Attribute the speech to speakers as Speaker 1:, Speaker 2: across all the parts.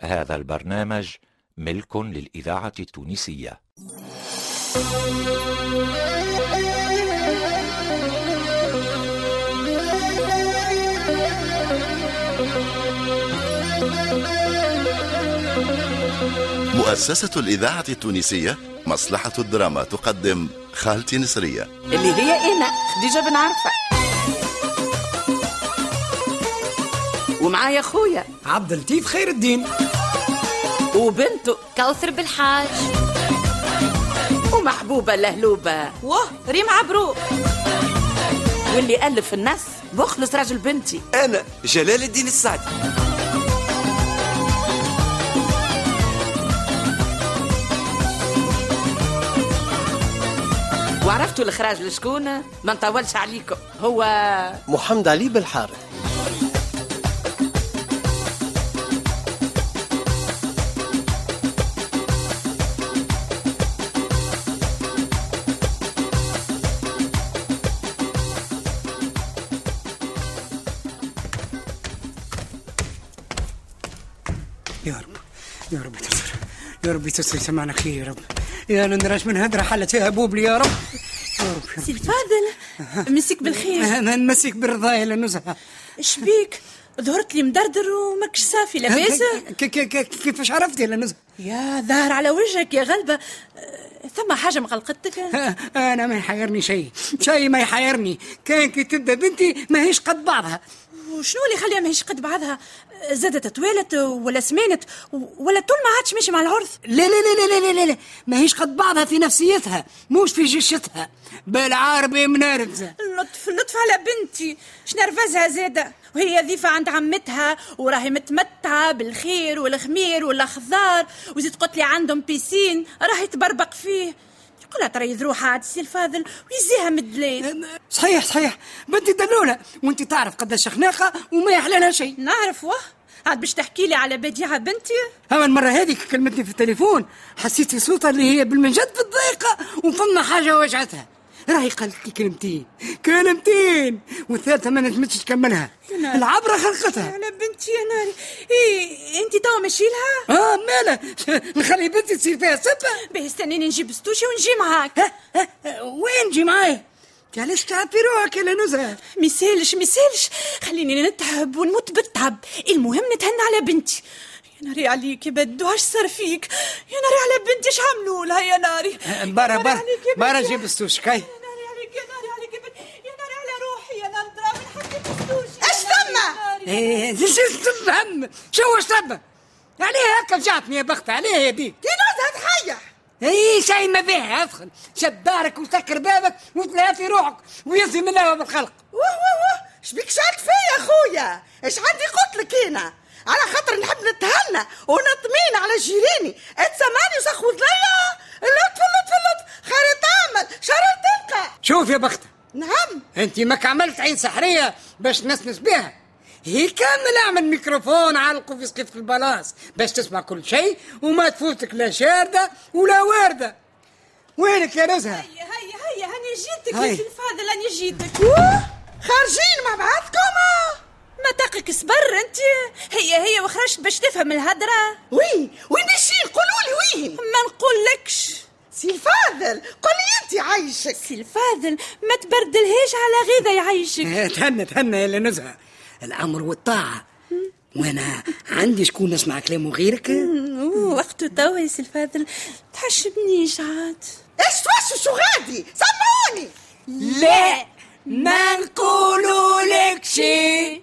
Speaker 1: هذا البرنامج ملك للإذاعة التونسية
Speaker 2: مؤسسة الإذاعة التونسية مصلحة الدراما تقدم خالتي نسرية
Speaker 3: اللي هي انا خديجه بن عرفه ومعايا خويا
Speaker 4: عبد اللطيف خير الدين
Speaker 3: وبنته
Speaker 5: كوثر بالحاج
Speaker 3: ومحبوبه لهلوبه
Speaker 5: واه ريم عبروك
Speaker 3: واللي الف النص مخلص راجل بنتي
Speaker 6: أنا جلال الدين السعدي
Speaker 3: وعرفتوا الاخراج لشكون ما نطولش عليكم هو
Speaker 4: محمد علي بالحارث
Speaker 7: يا رب يا رب تستر يا رب تستر سمعنا خير يا رب يا نندرش من هدرة حلت فيها بوبلي يا رب يا رب يا
Speaker 8: سي فاضل مسيك بالخير
Speaker 7: رب ما نمسك بالرضايا لنزهة
Speaker 8: شبيك ظهرت لي مدردر وماكش صافي لاباس
Speaker 7: أه، ك- ك- ك- كيفاش عرفتي لنزهة
Speaker 8: يا ظهر على وجهك يا غلبة أه، ثم حاجة مقلقتك
Speaker 7: انا أه، ما يحيرني شيء شيء ما يحيرني كان كي تبدا بنتي ماهيش قد بعضها
Speaker 8: وشنو اللي خليها ماهيش قد بعضها أه، زادت طوالت ولا سمانت ولا طول ما عادش ماشي مع العرس
Speaker 7: لا لا لا لا لا لا لا ماهيش قد بعضها في نفسيتها موش في جشتها بالعربي منرفزة
Speaker 8: لطف لطف على بنتي شنرفزها زادة وهي ذيفة عند عمتها وراهي متمتعة بالخير والخمير والأخضار وزيد قلت لي عندهم بيسين راهي تبربق فيه يقولها تريض روحها عاد السي الفاضل ويزيها مدليل
Speaker 7: صحيح صحيح بنتي دلولة وانت تعرف قداش خناقة وما يحلاها شيء
Speaker 8: نعرف واه عاد باش تحكي لي على بديعة بنتي
Speaker 7: أما المرة هذيك كلمتني في التليفون حسيت في صوتها اللي هي بالمنجد في الضيقة وفما حاجة وجعتها راهي قالت لي كلمتين كلمتين والثالثة ما نجمتش تكملها العبرة خلقتها
Speaker 8: على بنتي يا ناري إيه أنت توا ماشي لها
Speaker 7: اه مالا نخلي بنتي تصير فيها سبة
Speaker 8: باهي استنيني نجيب ستوشي ونجي معاك
Speaker 7: ها ها ها، وين جي معايا انت علاش تعبي روحك يا نزهة
Speaker 8: ميسالش ميسالش خليني نتعب ونموت بالتعب المهم نتهنى على بنتي يا ناري عليك يا بدو اش صار فيك يا ناري على بنتي اش عملوا لها يا ناري يا
Speaker 7: أه، برا
Speaker 8: ناري
Speaker 7: برا
Speaker 8: عليك يا
Speaker 7: برا
Speaker 8: بنتي.
Speaker 7: جيب السوشكاي
Speaker 8: يا ناري عليك يا ناري عليك يا بنتي يا ناري على روحي يا ناري درا من حسيت بستوشي اش ثم
Speaker 7: ايه زيش تفهم شو سبة عليها هكا جاتني يا بخت عليها يا بيك
Speaker 8: يا نازها تحيح
Speaker 7: اي شيء ما بيه ادخل شد دارك وسكر بابك وتلاقي في روحك ويزي من هوا بالخلق
Speaker 9: واه واه واه شبيك شاك فيا خويا اش عندي قلت لك انا على خاطر نحب نتهنى ونطمين على جيراني اتسمعني وسخوض ليا اللطف اللطف اللطف خير تعمل شر تلقى
Speaker 7: شوف يا بختة
Speaker 9: نعم
Speaker 7: انت ماك عملت عين سحرية باش نسنس بها هي كامل اعمل ميكروفون علقه في سقف البلاص باش تسمع كل شيء وما تفوتك لا شاردة ولا واردة وينك يا نزهة
Speaker 8: هيا هيا هيا هاني جيتك
Speaker 7: هاي.
Speaker 8: يا سي الفاضل هاني جيتك
Speaker 9: خارجين مع بعضكم آه.
Speaker 8: ما تقك صبر انت هي هي وخرجت باش تفهم الهدره
Speaker 9: وين وين ماشيين قولوا لي وين
Speaker 8: ما نقولكش
Speaker 9: سي الفاضل قل لي انت عايشك
Speaker 8: سي الفاضل ما تبردلهاش على غيظه يعيشك
Speaker 7: إيه، تهنى تهنى يا نزهة الامر والطاعة وانا عندي شكون نسمع كلامه غيرك
Speaker 8: وقته توا يا سي الفاضل تحشمنيش عاد
Speaker 9: ايش توشوا غادي سمعوني
Speaker 7: لا ما نقولوا لك شيء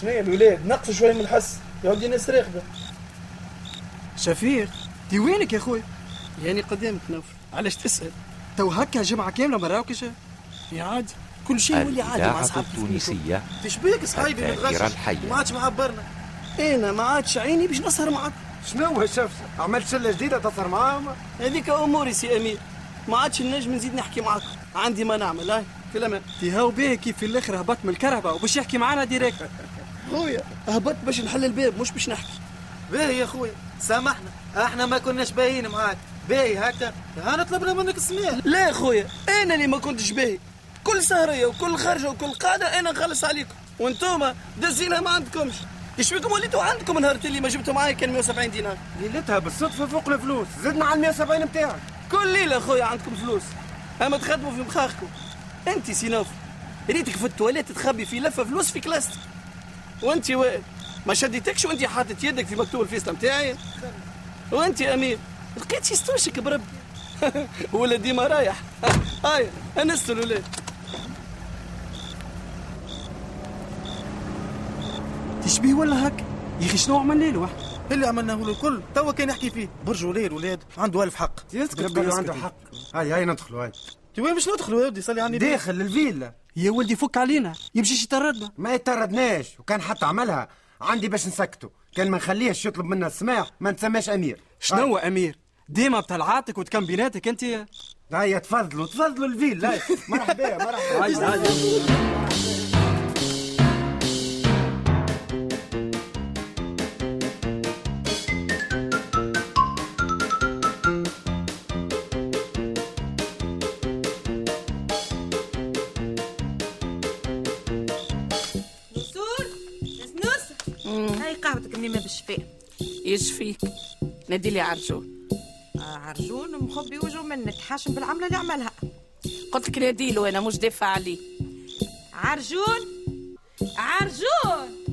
Speaker 10: شنو يا الولاد نقصوا شوي من الحس يا ولدي ناس راقده
Speaker 4: شفيق دي وينك يا خويا يعني قدامك نوفل علاش تسأل تو هكا جمعة كاملة ما راوكش
Speaker 7: يا عادي كل شيء يولي عادي مع
Speaker 1: الإذاعة
Speaker 7: أصحاب
Speaker 1: التونسية
Speaker 7: تشبيك صحايبي
Speaker 1: الذاكرة
Speaker 7: متغشش
Speaker 1: الحية.
Speaker 7: ما عادش معبرنا انا ما عادش عيني باش نسهر معك
Speaker 11: شنو هالشفسة؟ عملت شلة جديدة تسهر معاهم؟
Speaker 7: هذيك اموري سي امير ما عادش النجم نزيد نحكي معاك عندي ما نعمل هاي في الامان تهاو بيه كيف في الاخر هبط من الكرهبه وباش يحكي معانا ديريكت خويا هبط باش نحل الباب مش باش نحكي
Speaker 11: باهي يا خويا سامحنا احنا ما كناش باين معاك باهي هكا هانا طلبنا منك السماح
Speaker 7: لا يا خويا انا اللي ما كنتش باهي كل سهريه وكل خرجه وكل قاعده انا نخلص عليكم وانتوما دزينها ما عندكمش ايش بكم وليتوا عندكم نهار اللي ما جبتوا معايا كان 170 دينار
Speaker 11: ليلتها بالصدفة فوق الفلوس زدنا على ال 170 نتاعك
Speaker 7: كل ليله خويا عندكم فلوس اما تخدموا في مخاخكم انت سينوف ريتك في التواليت تخبي في لفه فلوس في كلاستك وانت وائل ما شديتكش وانت حاطط يدك في مكتوب الفيصله نتاعي وانت يا امير لقيت شيستوشك بربي ولا ديما رايح هاي انست الولاد
Speaker 11: تشبيه ولا هك يا اخي شنو عملنا له اللي عملناه له الكل توا كان يحكي فيه برجوا ليه الولاد عنده الف حق يسكت ربي عنده حق هاي هاي ندخلوا هاي تي وين باش ندخلوا يا ودي صلي عني داخل الفيلا
Speaker 12: يا ولدي فك علينا يمشيش يطردنا
Speaker 11: ما يطردناش وكان حتى عملها عندي باش نسكته كان ما نخليهش يطلب منا السماح ما نسماش امير
Speaker 12: شنو
Speaker 7: آه.
Speaker 12: امير ديما بتلعاتك وتكمبيناتك انت يا
Speaker 11: هيا تفضلوا تفضلوا الفيلا هاي. مرحبا مرحبا
Speaker 13: نصور نص
Speaker 8: أمم.
Speaker 13: هاي قهوتك منيمة بالشفاء
Speaker 3: يشفيك نادي لي عرجون
Speaker 8: عرجون مخبي وجهه من نتحاشم بالعمله اللي عملها
Speaker 3: قلت لك نادي له انا مش دافع عليه
Speaker 13: عرجون عرجون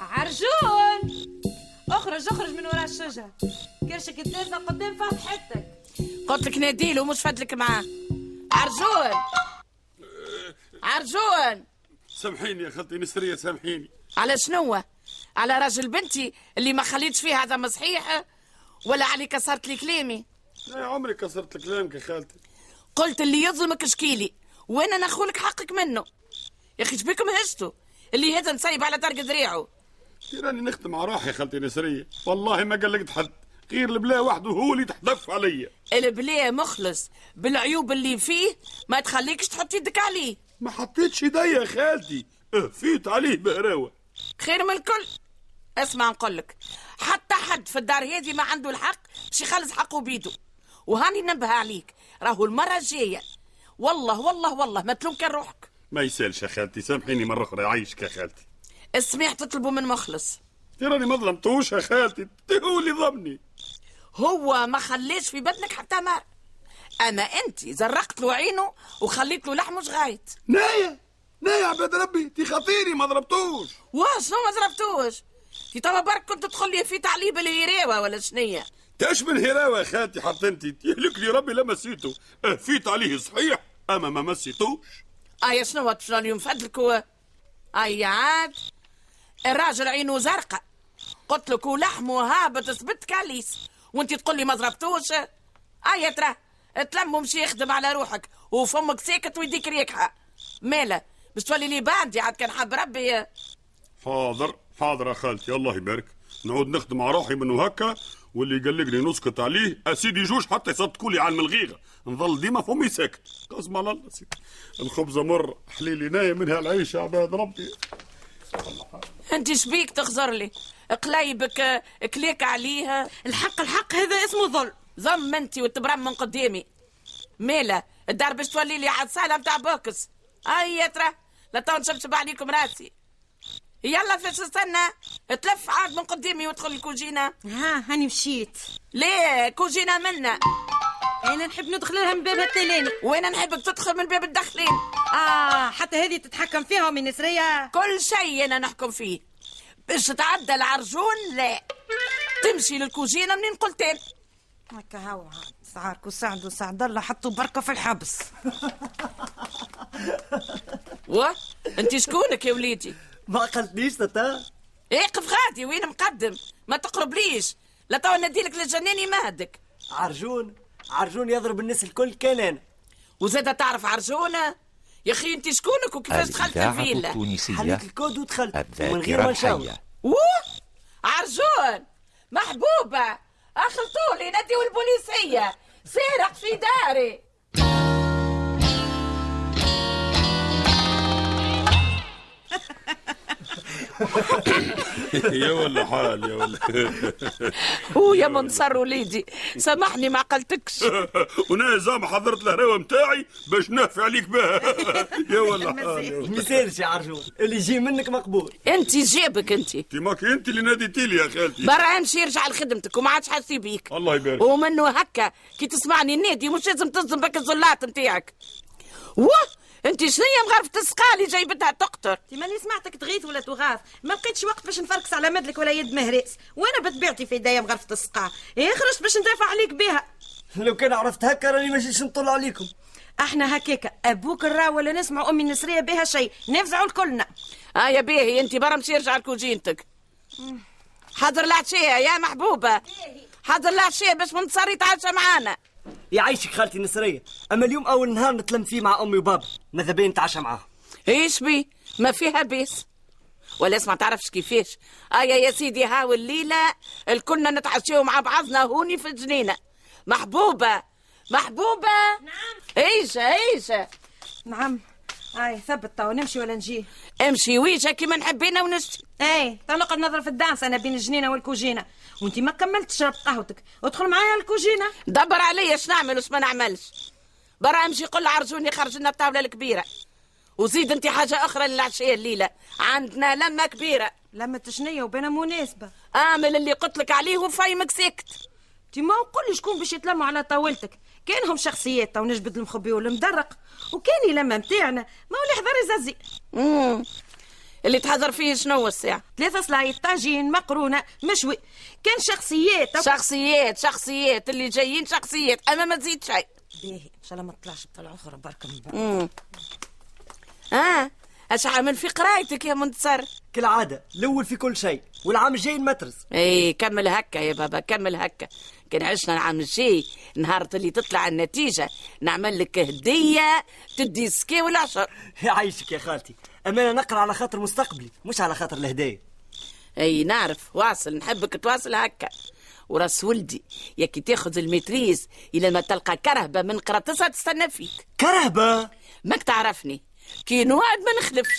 Speaker 13: عرجون اخرج اخرج من وراء الشجرة كرشك الدافع قدام فتحتك
Speaker 3: قلت لك نادي له مش فادلك معاه عرجون عرجون
Speaker 14: سامحيني يا خالتي نسرية سامحيني
Speaker 3: على شنو على راجل بنتي اللي ما خليتش فيه هذا مصحيح ولا علي كسرت لي كلامي
Speaker 14: لا عمري كسرت كلامك يا خالتي
Speaker 3: قلت اللي يظلمك شكيلي وانا ناخولك حقك منه يا اخي شبيكم هشتو اللي هذا نسيب على درج ذريعه
Speaker 14: تي راني نخدم على روحي يا خالتي نسرية والله ما قلقت حد غير البلا وحده هو اللي تحدف عليا
Speaker 3: البلا مخلص بالعيوب اللي فيه ما تخليكش تحط يدك عليه
Speaker 14: ما حطيتش ايديا يا خالتي فيت عليه بهراوة
Speaker 3: خير من الكل اسمع نقولك حتى حد في الدار هذه ما عنده الحق باش يخلص حقه بيده وهاني ننبه عليك راهو المرة الجاية والله والله والله ما تلوم كان روحك
Speaker 14: ما يسالش يا خالتي سامحيني مرة أخرى يعيشك يا خالتي
Speaker 3: السميح تطلبه من مخلص
Speaker 14: تي راني ما ظلمتوش يا خالتي تي هو اللي ظلمني
Speaker 3: هو ما خليش في بدنك حتى ما اما انت زرقت له عينه وخليت له لحمه شغايت
Speaker 14: نايا نايا عباد ربي تي خطيري ما ضربتوش
Speaker 3: وشنو ما ضربتوش في توا برك كنت تدخل لي في تعليب الهريوه ولا شنية
Speaker 14: تاش من هراوة يا خالتي حتى انت يهلك لي ربي لا مسيته فيت عليه صحيح اما ما مسيتوش
Speaker 3: اي شنو آه، وقت شنو اليوم فدلك هو اي عاد الراجل عينه زرقاء قلت لك ولحمه هابط ثبت كاليس وانت تقول لي ما ضربتوش اي ترى تلم ومشي يخدم على روحك وفمك ساكت ويديك ريكحه ماله باش تولي لي باندي عاد كان حب ربي
Speaker 14: حاضر حاضر يا خالتي الله يبارك نعود نخدم على روحي من هكا واللي يقلقني نسكت عليه اسيدي جوج حتى يصدقوا لي على الملغيغه نظل ديما فمي ساكت قسم على الله سيدي الخبزه مر حليلي نايم منها العيش يا عباد ربي
Speaker 3: انت شبيك تخزر لي قليبك آه، كليك عليها الحق الحق هذا اسمه ظلم ظلم انت وتبرم من قدامي مالا الدار باش تولي لي عالصاله بتاع بوكس اي ترى لا تو نشبشب عليكم راسي يلا فاش استنى تلف عاد من قدامي وادخل الكوجينه
Speaker 8: ها هاني مشيت
Speaker 3: ليه كوجينه منا
Speaker 8: انا نحب ندخل لها من بابها التلاني
Speaker 3: وانا نحبك تدخل من باب الدخلين
Speaker 8: اه حتى هذه تتحكم فيها من نسرية
Speaker 3: كل شيء انا نحكم فيه باش تعدى العرجون لا تمشي للكوجينه منين قلتين
Speaker 8: هكا هاو عاد سعارك وسعد وسعد الله حطوا بركه في الحبس
Speaker 3: و انت شكونك يا وليدي
Speaker 7: ما قلتليش تتا
Speaker 3: اقف غادي وين مقدم ما تقربليش لا توا نديلك للجنان يمهدك
Speaker 7: عرجون عرجون يضرب الناس الكل كان انا
Speaker 3: وزاد تعرف عرجونه يا اخي انت شكونك وكيفاش دخلت
Speaker 1: الإذاعة
Speaker 3: الفيلا
Speaker 1: التونسية الذاكرة الحية
Speaker 3: اوه عرجون محبوبه اخلطولي نديو البوليسيه سارق في داري
Speaker 14: يا ولا حال يا ولا
Speaker 3: هو يا منصر وليدي سامحني ما عقلتكش
Speaker 14: وانا زعما حضرت الهراوه متاعي باش نهفي عليك بها يا ولا حال
Speaker 15: ما
Speaker 14: يا ولا.
Speaker 15: يسالش يا عرجون اللي يجي منك مقبول
Speaker 3: انت جيبك انت
Speaker 14: انت ماك انت اللي ناديتي لي يا خالتي
Speaker 3: برا امشي ارجع لخدمتك وما عادش حاسي بيك
Speaker 14: الله يبارك
Speaker 3: ومنه هكا كي تسمعني نادي مش لازم تصدم بك الزلات نتاعك واه انت شنو هي مغرفه السقالي جايبتها تقطر
Speaker 8: انت ماني سمعتك تغيث ولا تغاث ما لقيتش وقت باش نفركس على مدلك ولا يد مهريس وانا بطبيعتي في يديا مغرفه السقا إيه خرجت باش ندافع عليك بها
Speaker 15: لو كان عرفت هكا راني ما جيتش نطل عليكم
Speaker 8: احنا هكاك ابوك الرا ولا نسمع امي النسريه بها شيء نفزعوا الكلنا
Speaker 3: اه يا باهي انت برا مشي ارجع لكوجينتك حضر العشيه يا محبوبه حضر العشيه باش منتصر يتعشى معانا
Speaker 16: يعيشك خالتي نسرية أما اليوم أول نهار نتلم فيه مع أمي وبابا ماذا بين نتعشى معاهم
Speaker 3: ايش بي ما فيها بيس ولا اسمع تعرفش كيفاش ايا يا سيدي هاو الليله الكلنا نتعشيو مع بعضنا هوني في الجنينه محبوبه محبوبه نعم ايشا ايشا
Speaker 8: نعم اي ثبت تو نمشي ولا نجي
Speaker 3: امشي ويجا كيما نحبينا ونشتي
Speaker 8: اي تو نقعد نضرب في الدانس انا بين الجنينه والكوجينه وانت ما كملتش شربت قهوتك ادخل معايا الكوجينه
Speaker 3: دبر عليا شنو نعمل وش ما نعملش برا امشي قل عرجوني خرج لنا الطاوله الكبيره وزيد انت حاجه اخرى للعشيه الليله عندنا لمه كبيره
Speaker 8: لمة شنية وبينا مناسبة
Speaker 3: امل اللي قلت لك عليه وفايمك ساكت
Speaker 8: انت ما نقول شكون باش يتلموا على طاولتك كانهم شخصيات تو نجبد المخبي والمدرق وكان يلمة متاعنا ما هو يحضر زازي
Speaker 3: مم. اللي تحضر فيه شنو الساعه
Speaker 8: ثلاثة صلايط طاجين مقرونة مشوي كان شخصيات
Speaker 3: شخصيات شخصيات اللي جايين شخصيات اما ما تزيد شيء
Speaker 8: باهي ان شاء الله ما تطلعش بطلع اخرى برك من بعد
Speaker 3: مم. اه اش عامل في قرايتك يا منتصر
Speaker 16: كالعادة الأول في كل شيء والعام الجاي المترس
Speaker 3: اي كمل هكا يا بابا كمل هكا كان عشنا العام الجاي نهار اللي تطلع النتيجه نعمل لك هديه تدي سكي والعشر
Speaker 16: يعيشك يا خالتي أما أنا نقرأ على خاطر مستقبلي مش على خاطر الهدايا
Speaker 3: اي نعرف واصل نحبك تواصل هكا وراس ولدي يا كي تاخذ المتريز الى ما تلقى كرهبه من قراطسها تستنى فيك
Speaker 16: كرهبه
Speaker 3: ماك تعرفني كي نوعد ما نخلفش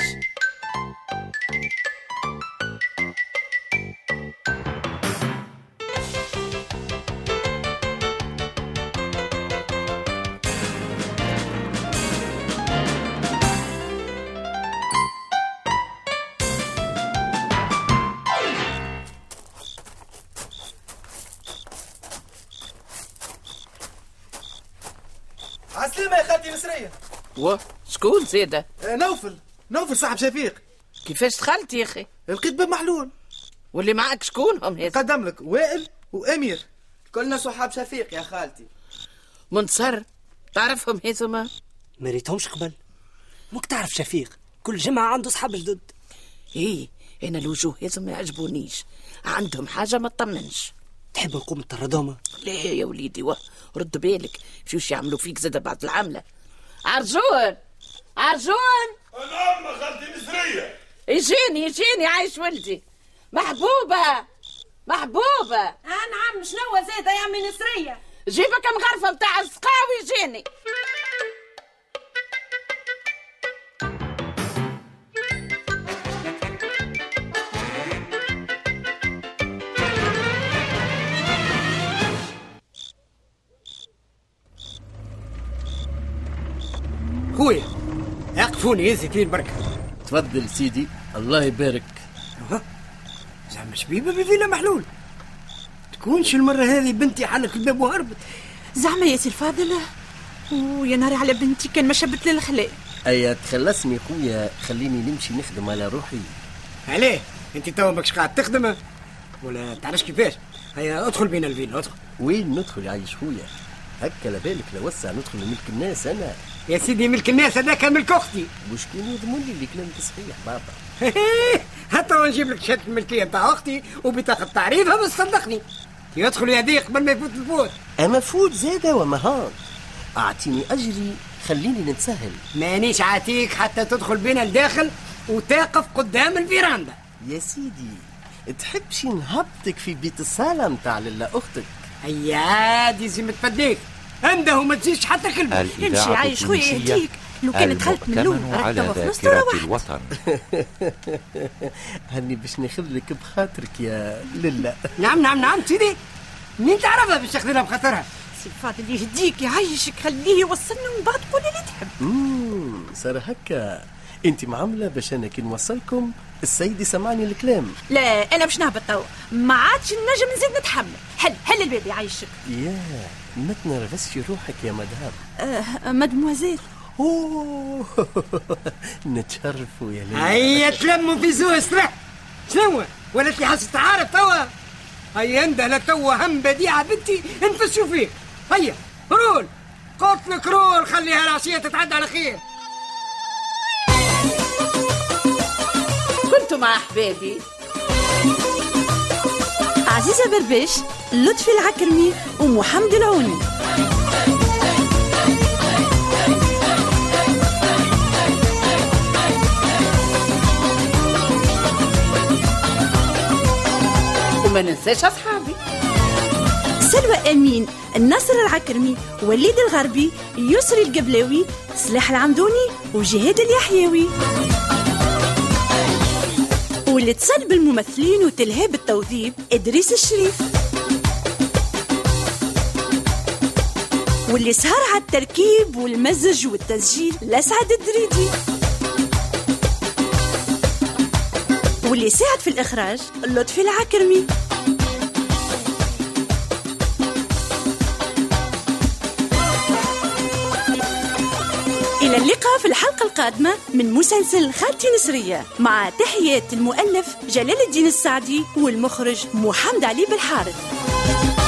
Speaker 11: عسلامة يا خالتي نسرية
Speaker 3: و شكون زيده
Speaker 11: آه، نوفل نوفل صاحب شفيق
Speaker 3: كيفاش دخلت يا اخي
Speaker 11: لقيت باب محلول
Speaker 3: واللي معاك شكون هم هذا
Speaker 11: قدم لك وائل وامير كلنا صحاب شفيق يا خالتي
Speaker 3: منتصر تعرفهم هذوما
Speaker 16: ما ريتهمش قبل مك تعرف شفيق كل جمعة عنده صحاب جدد
Speaker 3: ايه انا الوجوه هذوما ما يعجبونيش عندهم حاجه ما تطمنش
Speaker 16: تحب نقوم نطردهم
Speaker 3: لا يا وليدي واه رد بالك مشيوش يعملوا فيك زاده بعد العمله عرجون عرجون
Speaker 14: انا ما خالتي نسريه
Speaker 3: يجيني يجيني عايش ولدي محبوبه محبوبه
Speaker 8: اه نعم شنو زايدة يا عمي نسرية
Speaker 3: جيبك مغرفه متاع السقاوي يجيني
Speaker 7: خويا اقفوني يا زيتين برك
Speaker 4: تفضل سيدي الله يبارك
Speaker 7: زعما شبيبه بفيلا محلول تكونش المره هذه بنتي حلت الباب وهربت
Speaker 17: زعما يا سي الفاضل ويا نهار على بنتي كان ما شبت للخلاء
Speaker 4: اي تخلصني خويا خليني نمشي نخدم على روحي
Speaker 7: عليه انت تو ماكش قاعد تخدم ولا تعرفش كيفاش هيا ادخل بينا الفيلا ادخل
Speaker 4: وين ندخل يعيش خويا هكا لبالك لو وسع ندخل لملك الناس انا
Speaker 7: يا سيدي ملك الناس هذاك ملك اختي
Speaker 4: وشكون يضمن لي اللي كلام صحيح بابا
Speaker 7: حتى ونجيب لك شهاده الملكيه نتاع اختي وبطاقه تعريفها بس صدقني يدخل يا ضيق قبل ما يفوت الفوت
Speaker 4: اما فوت زاده ومهار اعطيني اجري خليني نتسهل
Speaker 7: مانيش عاتيك حتى تدخل بينا لداخل وتقف قدام الفيراندا
Speaker 4: يا سيدي تحبش نهبطك في بيت الصالة متاع للا أختك
Speaker 7: يا دي زي متفديك انده وما تجيش حتى كلمة
Speaker 8: امشي عايش خويا يهديك لو كان دخلت من الاول
Speaker 4: المؤتمن
Speaker 8: راك
Speaker 4: على
Speaker 8: توا خلصت
Speaker 4: ذاكرة
Speaker 8: وروحت
Speaker 4: الوطن. هني باش ناخذ لك بخاطرك يا للا
Speaker 7: نعم نعم نعم سيدي مين تعرفها باش تاخذ لها بخاطرها
Speaker 18: سي فاضل يهديك يعيشك خليه يوصلنا من بعد كل اللي تحب
Speaker 4: امم صار هكا انت معامله باش انا كي نوصلكم السيد سمعني الكلام
Speaker 17: لا انا مش نهبط توا ما عادش نجم نزيد نتحمل هل هل الباب يعيشك
Speaker 4: ياه ما تنرفزش روحك يا مدام
Speaker 18: أه،
Speaker 17: آه مدموزيل
Speaker 4: اوه نتشرفوا يا ليلى
Speaker 7: هيا تلموا في زوز لا شنو ولا اللي حاسس تعارف توا هيا انده لا توا هم بديعه بنتي انفسوا فيك هيا رول قلت لك رول خليها العشيه تتعدى على خير
Speaker 3: كنتوا مع احبابي
Speaker 8: عزيزة برباش لطفي العكرمي ومحمد العوني
Speaker 3: وما ننساش اصحابي
Speaker 8: سلوى امين النصر العكرمي وليد الغربي يسري القبلاوي سلاح العمدوني وجهاد اليحيوي واللي اتصل بالممثلين وتلهى بالتوظيف ادريس الشريف واللي سهر على التركيب والمزج والتسجيل لسعد الدريدي واللي ساعد في الاخراج لطفي العكرمي إلى اللقاء في الحلقة القادمة من مسلسل خالتي نسرية مع تحيات المؤلف جلال الدين السعدي والمخرج محمد علي بالحارث